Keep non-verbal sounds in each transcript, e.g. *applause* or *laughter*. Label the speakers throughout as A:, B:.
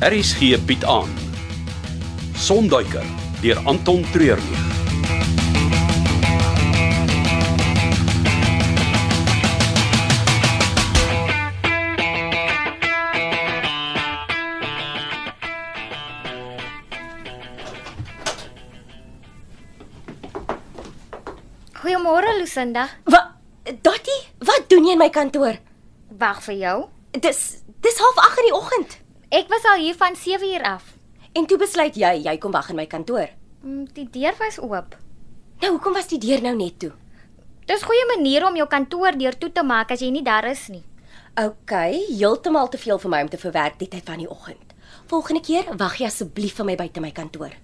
A: Aries gee Piet aan. Sonduiker deur Anton Treurnig.
B: Goeiemôre Lusinda.
C: Wat Dottie, wat doen jy in my kantoor?
B: Wag vir jou.
C: Dis dis half 8 in die oggend.
B: Ek was al hier van 7uur af.
C: En toe besluit jy jy kom wag in my kantoor.
B: Mm, Die deur was oop.
C: Nou hoekom was die deur nou net toe?
B: Dis goeie manier om jou kantoor deur toe te maak as jy nie daar is nie.
C: OK, heeltemal te veel vir my om te verwerk die tyd van die oggend. Volgende keer wag jy asseblief vir my buite my kantoor.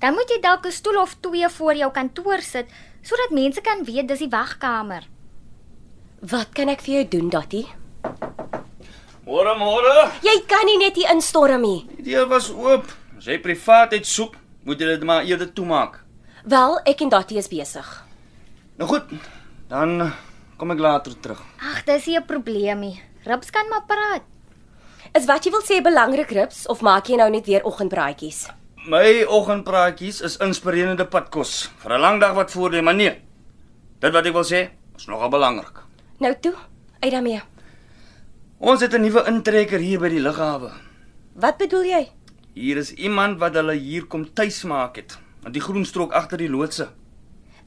B: Dan moet jy dalk 'n stoel of twee voor jou kantoor sit sodat mense kan weet dis die wagkamer.
C: Wat kan ek vir jou doen, Dottie?
D: Môre môre.
C: Jy kan nie net hier instorm nie.
D: Die deur was oop. As jy privaatheid soek, moet jy dit maar eerder toemaak.
C: Wel, ek en Dottie is besig.
D: Nou goed, dan kom ek later terug.
B: Ag, dis nie 'n probleemie. Rips kan maar praat.
C: Is wat jy wil sê belangrik, Rips, of maak jy nou net weer oggendbraadjies?
D: My oggendpraatjies is inspirerende padkos vir 'n lang dag wat voor lê, maar nee. Dit wat ek wil sê, is nogal belangrik.
C: Nou toe, uit daarmee.
D: Ons het 'n nuwe intrekker hier by die lughawe.
C: Wat bedoel jy?
D: Hier is iemand wat hulle hier kom tuismaak het, in die groen strook agter die loodse.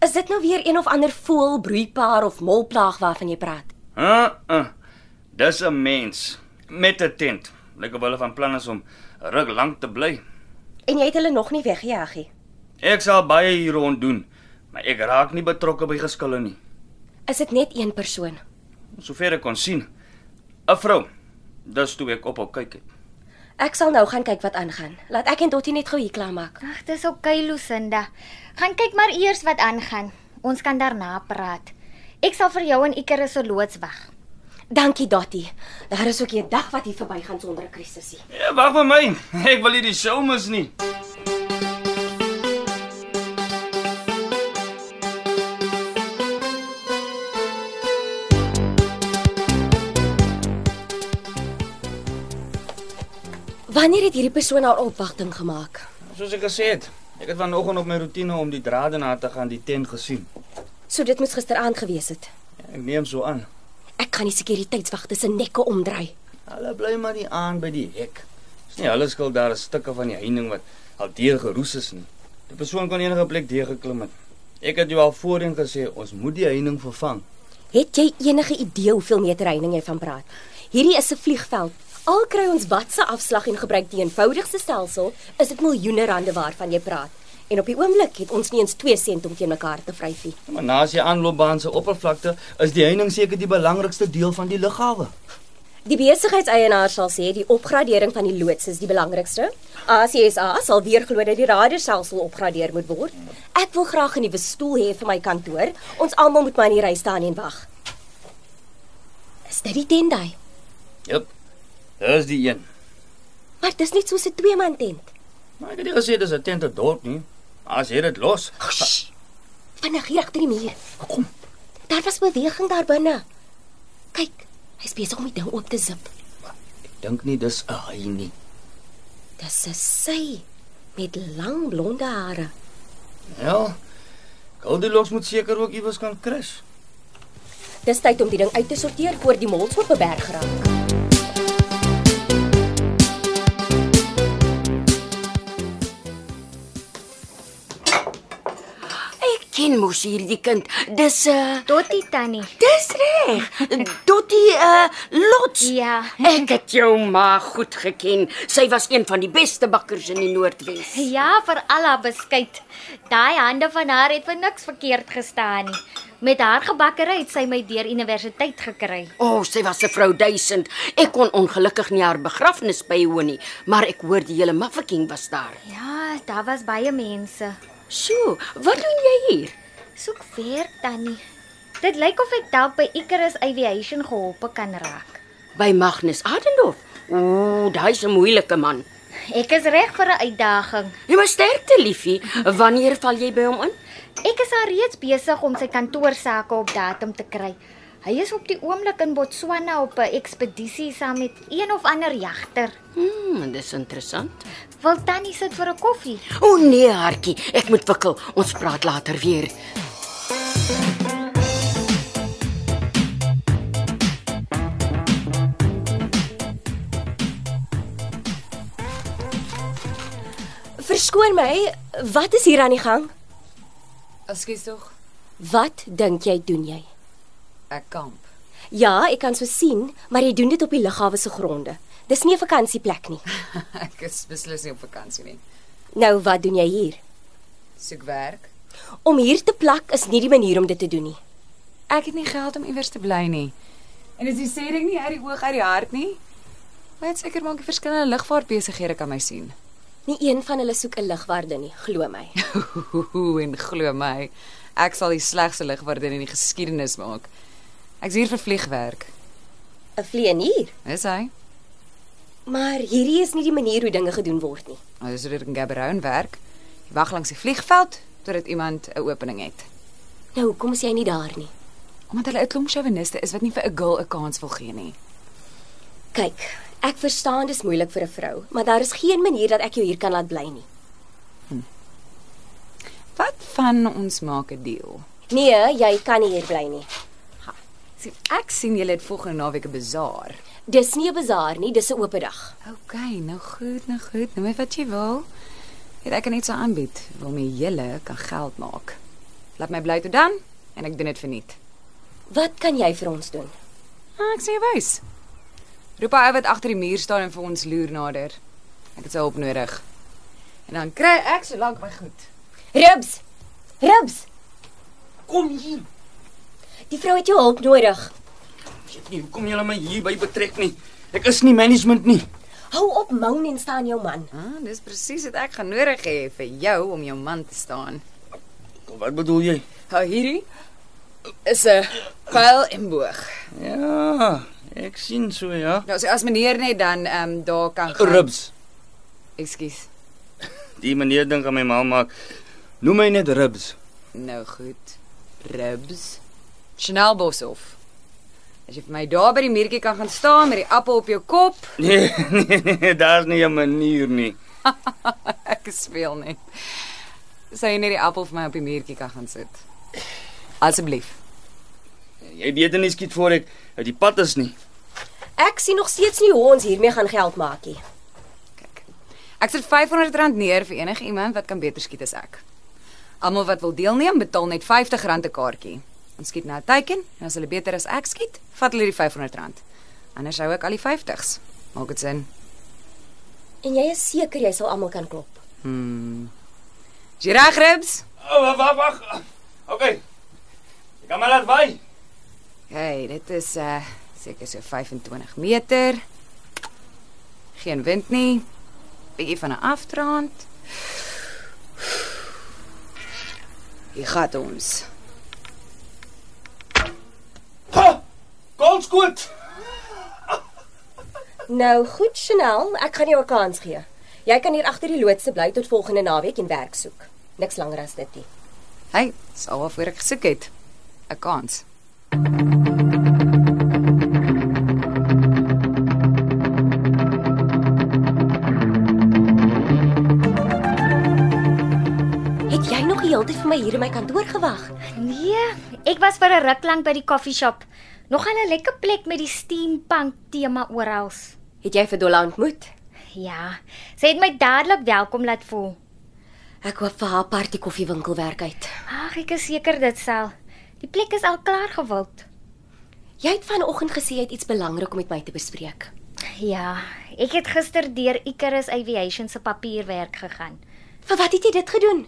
C: Is dit nou weer een of ander voël, broeipaar of molplaag waarvan jy praat?
D: Uh, uh. Dis 'n mens met 'n tent. Lyk of hulle van plan is om 'n ruk lank te bly.
C: En jy het hulle nog nie weggejaag nie.
D: Ek sal baie hier rond doen, maar ek raak nie betrokke by geskille nie.
C: Is dit net een persoon?
D: Sover ek kon sien. 'n Vrou. Dis toe ek ophou kyk het.
C: Ek sal nou gaan kyk wat aangaan. Laat ek en Dottie net gou hier klaarmaak.
B: Ag, dis oukei okay, Lusinda. Gaan kyk maar eers wat aangaan. Ons kan daarna praat. Ek sal vir jou in Icarus se loods wag.
C: Dankie Dottie. Daar is ook 'n dag wat hier verbygaan sonder 'n krisis nie.
D: Ja, wag vir my. *laughs* Ek wil hierdie show mis nie.
C: Wanneer het hierdie persoon haar opwagting gemaak?
D: Soos ek gesê het, ek het vanoggend op my roetine om die drade na te gaan die tent gesien.
C: So dit moes gisteraand gewees het.
D: Ek neem so aan.
C: Ek gaan die sekuriteitswagte se nekke omdraai.
D: Hulle bly maar die aan by die hek. Dis nie hulle skuld daar is stukke van die heining wat al deur geroes is nie. Die persoon kon enige plek deur geklim het. Ek het jou al voorheen gesê ons moet die heining vervang.
C: Het jy enige idee hoeveel meter reining jy van praat? Hierdie is 'n vliegveld. Al kry ons watse afslag en gebruik die eenvoudigste stelsel, is dit miljoene rande waarvan jy praat. En op die oomblik het ons nie eens 2 sent om teen mekaar te vryf nie.
D: Maar naas die aanloopbaan se oppervlakte is die heining seker die belangrikste deel van die lughawe.
C: Die besigheidseienaar sal sê die opgradering van die loods is die belangrikste. ASISA sal weer glo dat die radarstelsel opgradeer moet word. Ek wil graag 'n nuwe stoel hê vir my kantoor. Ons almal moet maar in die ry staan en wag. Is dit die tent daai?
D: Jep. Dis die een.
C: Maar dis net soos 'n twee-man tent.
D: Maar ek het nie gesê dis 'n tent op dorp nie. As jy dit los,
C: Ssh. Vinnig hier agter die muur.
D: kom.
C: Daar was beweging daar binne. Kyk, hy's besig om die ding oop te zip.
D: ek dink nie dis 'n hy nie.
C: Dis 'n sy met lang blonde hare.
D: Ja. Goldilocks moet seker ook iewers kan crash.
C: Dis tyd om die ding uit te sorteer voor die mols op 'n berg raak.
E: Ek ken mos hierdie kind. Dis 'n uh,
B: Dottie tannie.
E: dis reg. Dottie uh, Lots.
B: Ja.
E: Ek het jou ma goed geken. Sy was een van die beste bakkers in die Noordwes.
B: Ja, vir al haar beskuit. Daai hande van haar het vir niks verkeerd gestaan nie. Met haar gebakkery het sy my deur universiteit gekry.
E: O, oh, sy was 'n vrou duisend. Ek kon ongelukkig nie haar begrafnis bywoon nie, maar ek hoor die hele Mafeking was daar.
B: Ja, daar was baie mense.
E: So, wat doen jy hier?
B: Soek werk tannie. Dit lyk of ek dalk by Icarus Aviation gehelp kan raak.
E: By Magnus Adendorf. O, daai's 'n moeilike man.
B: Ek is reg vir 'n uitdaging.
E: Jy moet sterkte, liefie. Wanneer val jy by hom in?
B: Ek is al reeds besig om sy kantoor sake op datum te kry. Hy is op die oomblik in Botswana op 'n ekspedisie saam met een of ander jagter.
E: Hmm, dis interessant.
B: Wil tannie sit vir 'n koffie?
E: O nee, hartjie, ek moet wikkel. Ons praat later weer.
C: Verskoon my, wat is hier aan die gang?
F: Ekskuus tog.
C: Wat dink jy doen jy?
F: Ek kamp. *laughs*
C: Ja, ek kan so sien, maar jy doen dit op die lughawe se gronde. Dis nie 'n vakansieplek nie.
F: ek is beslis nie op vakansie nie.
C: Nou wat doen jy hier?
F: Soek werk.
C: Om hier te plak is nie die manier om dit te doen nie.
F: Ek het nie geld om iewers te bly nie. En dis die sê ding nie uit die oog uit die hart nie. Maar dit seker maak die verskillende lugvaartbesighede kan my sien.
C: Nie een van hulle soek 'n ligwaarde nie, glo my.
F: Ooh, *laughs* en glo my, ek sal die slegste lugwaarder in die geskiedenis maak. Ek's hier vir vliegwerk.
C: 'n Vleenier,
F: Is hy?
C: maar hierdie is nie die manier hoe dinge gedoen word nie.
F: Ons is hier in Gaborone werk. Jy wag langs die vliegveld totdat iemand 'n opening het.
C: Nou, hoekom is jy nie daar nie?
F: Omdat hulle 'n klomp chauviniste is wat nie vir 'n girl 'n kans wil gee nie.
C: Kyk, ek verstaan dis moeilik vir 'n vrou, maar daar is geen manier dat ek jou hier kan laat bly nie.
F: Wat van ons maak 'n deal?
C: Nee, jy kan nie hier bly nie.
F: Sien, ek sien julle het volgende naweek 'n bazaar.
C: Dis nie 'n bazaar nie, dis 'n oop dag.
F: OK, nou goed, nou goed. Noem my wat jy wil. Het ek kan iets aanbied waarmee julle kan geld maak. Laat my bly toe dan en ek doen dit verniet.
C: Wat kan jy vir ons doen?
F: Ah, ek sê jy wys. Roep hy wat agter die muur staan en vir ons loer nader. Ek het sy hulp nodig. En dan kry ek so lank my goed.
C: Ribs. Ribs,
D: Kom hier.
C: die vrou het jou hulp nodig.
D: Weet nie hoekom julle my hier by betrek nie. Ek is nie management nie.
C: Hou op moun en staan jou man.
F: Ah, dis presies wat ek gaan nodig hê vir jou om jou man te staan.
D: Wat bedoel jy?
F: Hou hierdie is 'n pyl en boog.
D: Ja, ek sien so ja.
F: Nou so as meneer net dan ehm daar kan gaan.
D: Ribs.
F: Ekskuus.
D: Die meneer dink aan my ma maak. Noem my net Ribs.
F: Nou goed. Ribs. Chanel Boshoff. As jy vir my daar by die muurtjie kan gaan staan met die appel op jou kop, *laughs*
D: Nee, *laughs* nee, nee, daar's nie 'n manier nie.
F: ek speel net. Sou jy net die appel vir my op die muurtjie kan gaan sit. Asseblief.
D: Jy weet nie skiet voor ek uit die pad is nie.
C: Ek sien nog steeds nie hoe ons hiermee gaan geld maak nie.
F: Kyk. Ek sit R500 neer vir enige iemand wat kan beter skiet as ek. Almal wat wil deelneem, betaal net R50 'n kaartjie. Ons skiet na 'n teiken en as hulle beter as ek skiet, vat hulle die R500. Anders hou ek al die 50s. Maak dit sin.
C: En jy is seker jy sal almal kan klop.
F: Is jy reg, Ribs?
D: Oh, wag, wag. Okay. Ek kan maar laat vaai.
F: Hey, dit is uh seker so 25 meter. Geen wind nie. Bietjie van 'n afdraand. Hier gaan ons.
D: Goalskoot.
C: Nou goed, Chanel, ek gaan jou 'n kans gee. Jy kan hier agter die loodse bly tot volgende naweek en werk soek. Niks langer as dit nie.
F: Hey, dis al waarvoor ek gesoek het. 'n Kans.
C: Het jy nog die hele tyd vir my hier in my kantoor gewag?
B: Nee, ek was vir 'n ruk lank by die koffieshop. Nog 'n lekker plek met die steampunk tema oral.
C: Het jy vir Dolla ontmoet?
B: Ja, sy het my dadelik welkom laat voel.
C: Ek hoop vir haar party koffiewinkel werk uit.
B: Ag, ek is seker dit sal. Die plek is al klaar gewild.
C: Jy het vanoggend gesê jy het iets belangrik om met my te bespreek.
B: Ja, ek het gister deur Icarus Aviation se papierwerk gegaan.
C: Vir wat het jy dit gedoen?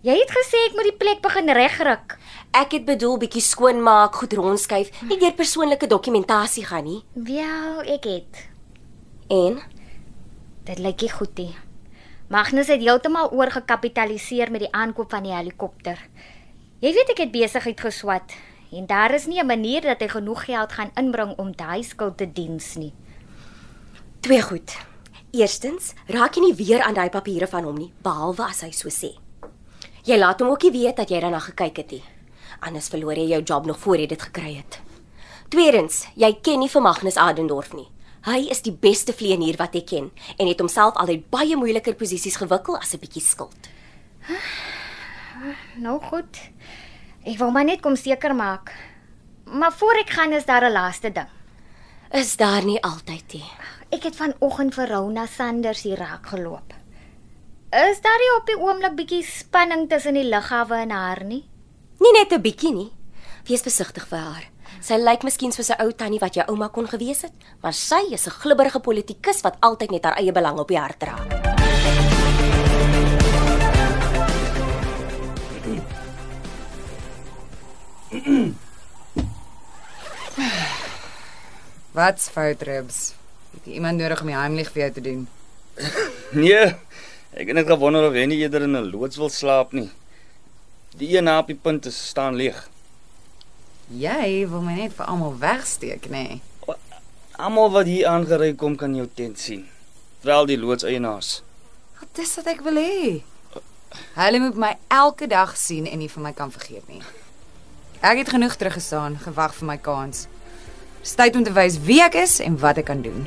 B: Jy het gesê ek moet die plek begin regryk.
C: Ek het bedoel bietjie skoonmaak, goed rondskuif, nie deur persoonlike dokumentasie gaan nie.
B: Wel, ek het.
C: En
B: Dit lyk nie goed nie. Magnus het heeltemal oorgekapitaliseer met die aankoop van die helikopter. Jy weet ek het besigheid geswat en daar is nie 'n manier dat hy genoeg geld gaan inbring om daai skuld te diens nie.
C: twee goed. Eerstens, raak jy nie weer aan daai papiere van hom nie, behalwe as hy so sê. Jy laat hom ook nie weet dat jy daarna gekyk het nie. Anders verloor jy jou job nog voor jy dit gekry het. Tweedens, jy ken nie vir Magnus Adendorf nie. Hy is die beste vleienier wat ek ken en het homself al uit baie moeiliker posisies gewikkel as 'n bietjie skuld.
B: Nou goed. Ek wou maar net kom seker maak. Maar voor ek gaan is daar 'n laaste ding.
C: Is daar nie altyd nie.
B: Ek het vanoggend vir Rona Sanders hier raak geloop. Is daar nie op die oomblik bietjie spanning tussen die lughawe en haar nie?
C: Nie net 'n bietjie nie. Wees besigtig vir haar. Sy lyk miskien soos 'n ou tannie wat jou ouma kon gewees het, maar sy is 'n glibberige politikus wat altyd net haar eie belang op die hart dra.
F: Wat's fout, Ribs? Het jy iemand nodig om die heimlig vir jou te doen?
D: Nee. Ek het net gewonder of jy nie eerder in 'n loods wil slaap nie. Die een na op die punt is staan leeg.
F: Jy wil my net vir almal wegsteek, nê? Nee.
D: Almal wat hier aangery kom kan jou tent sien. Veral die loodseienaars.
F: Wat dis wat ek wil hê? Hulle moet my elke dag sien en nie van my kan vergeet nie. Ek het genoeg teruggestaan, gewag vir my kans. Dis tyd om te wys wie ek is en wat ek kan doen.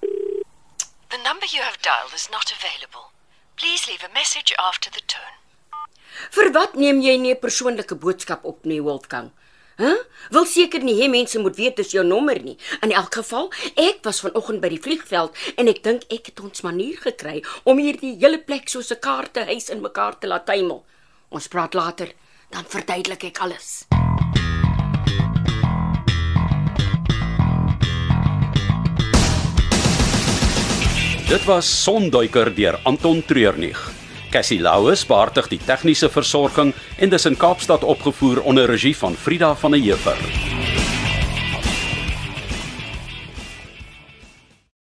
G: The number you have dialed is not available. Please leave a message after the tone.
E: Vir wat neem jy nie 'n persoonlike boodskap op nie, Wolfgang? Hæ? Huh? Wil seker nie hê mense moet weet dis jou nommer nie. In elk geval, ek was vanoggend by die vliegveld en ek dink ek het ons manier gekry om hierdie hele plek soos 'n kaartehuis in mekaar te laat tuimel. Ons praat later, dan verduidelik ek alles.
A: Dit was Sonduiker deur Anton Treurnig. Cassie Louws beheerdig die tegniese versorging en dis in Kaapstad opgevoer onder regie van Frida van der Heever.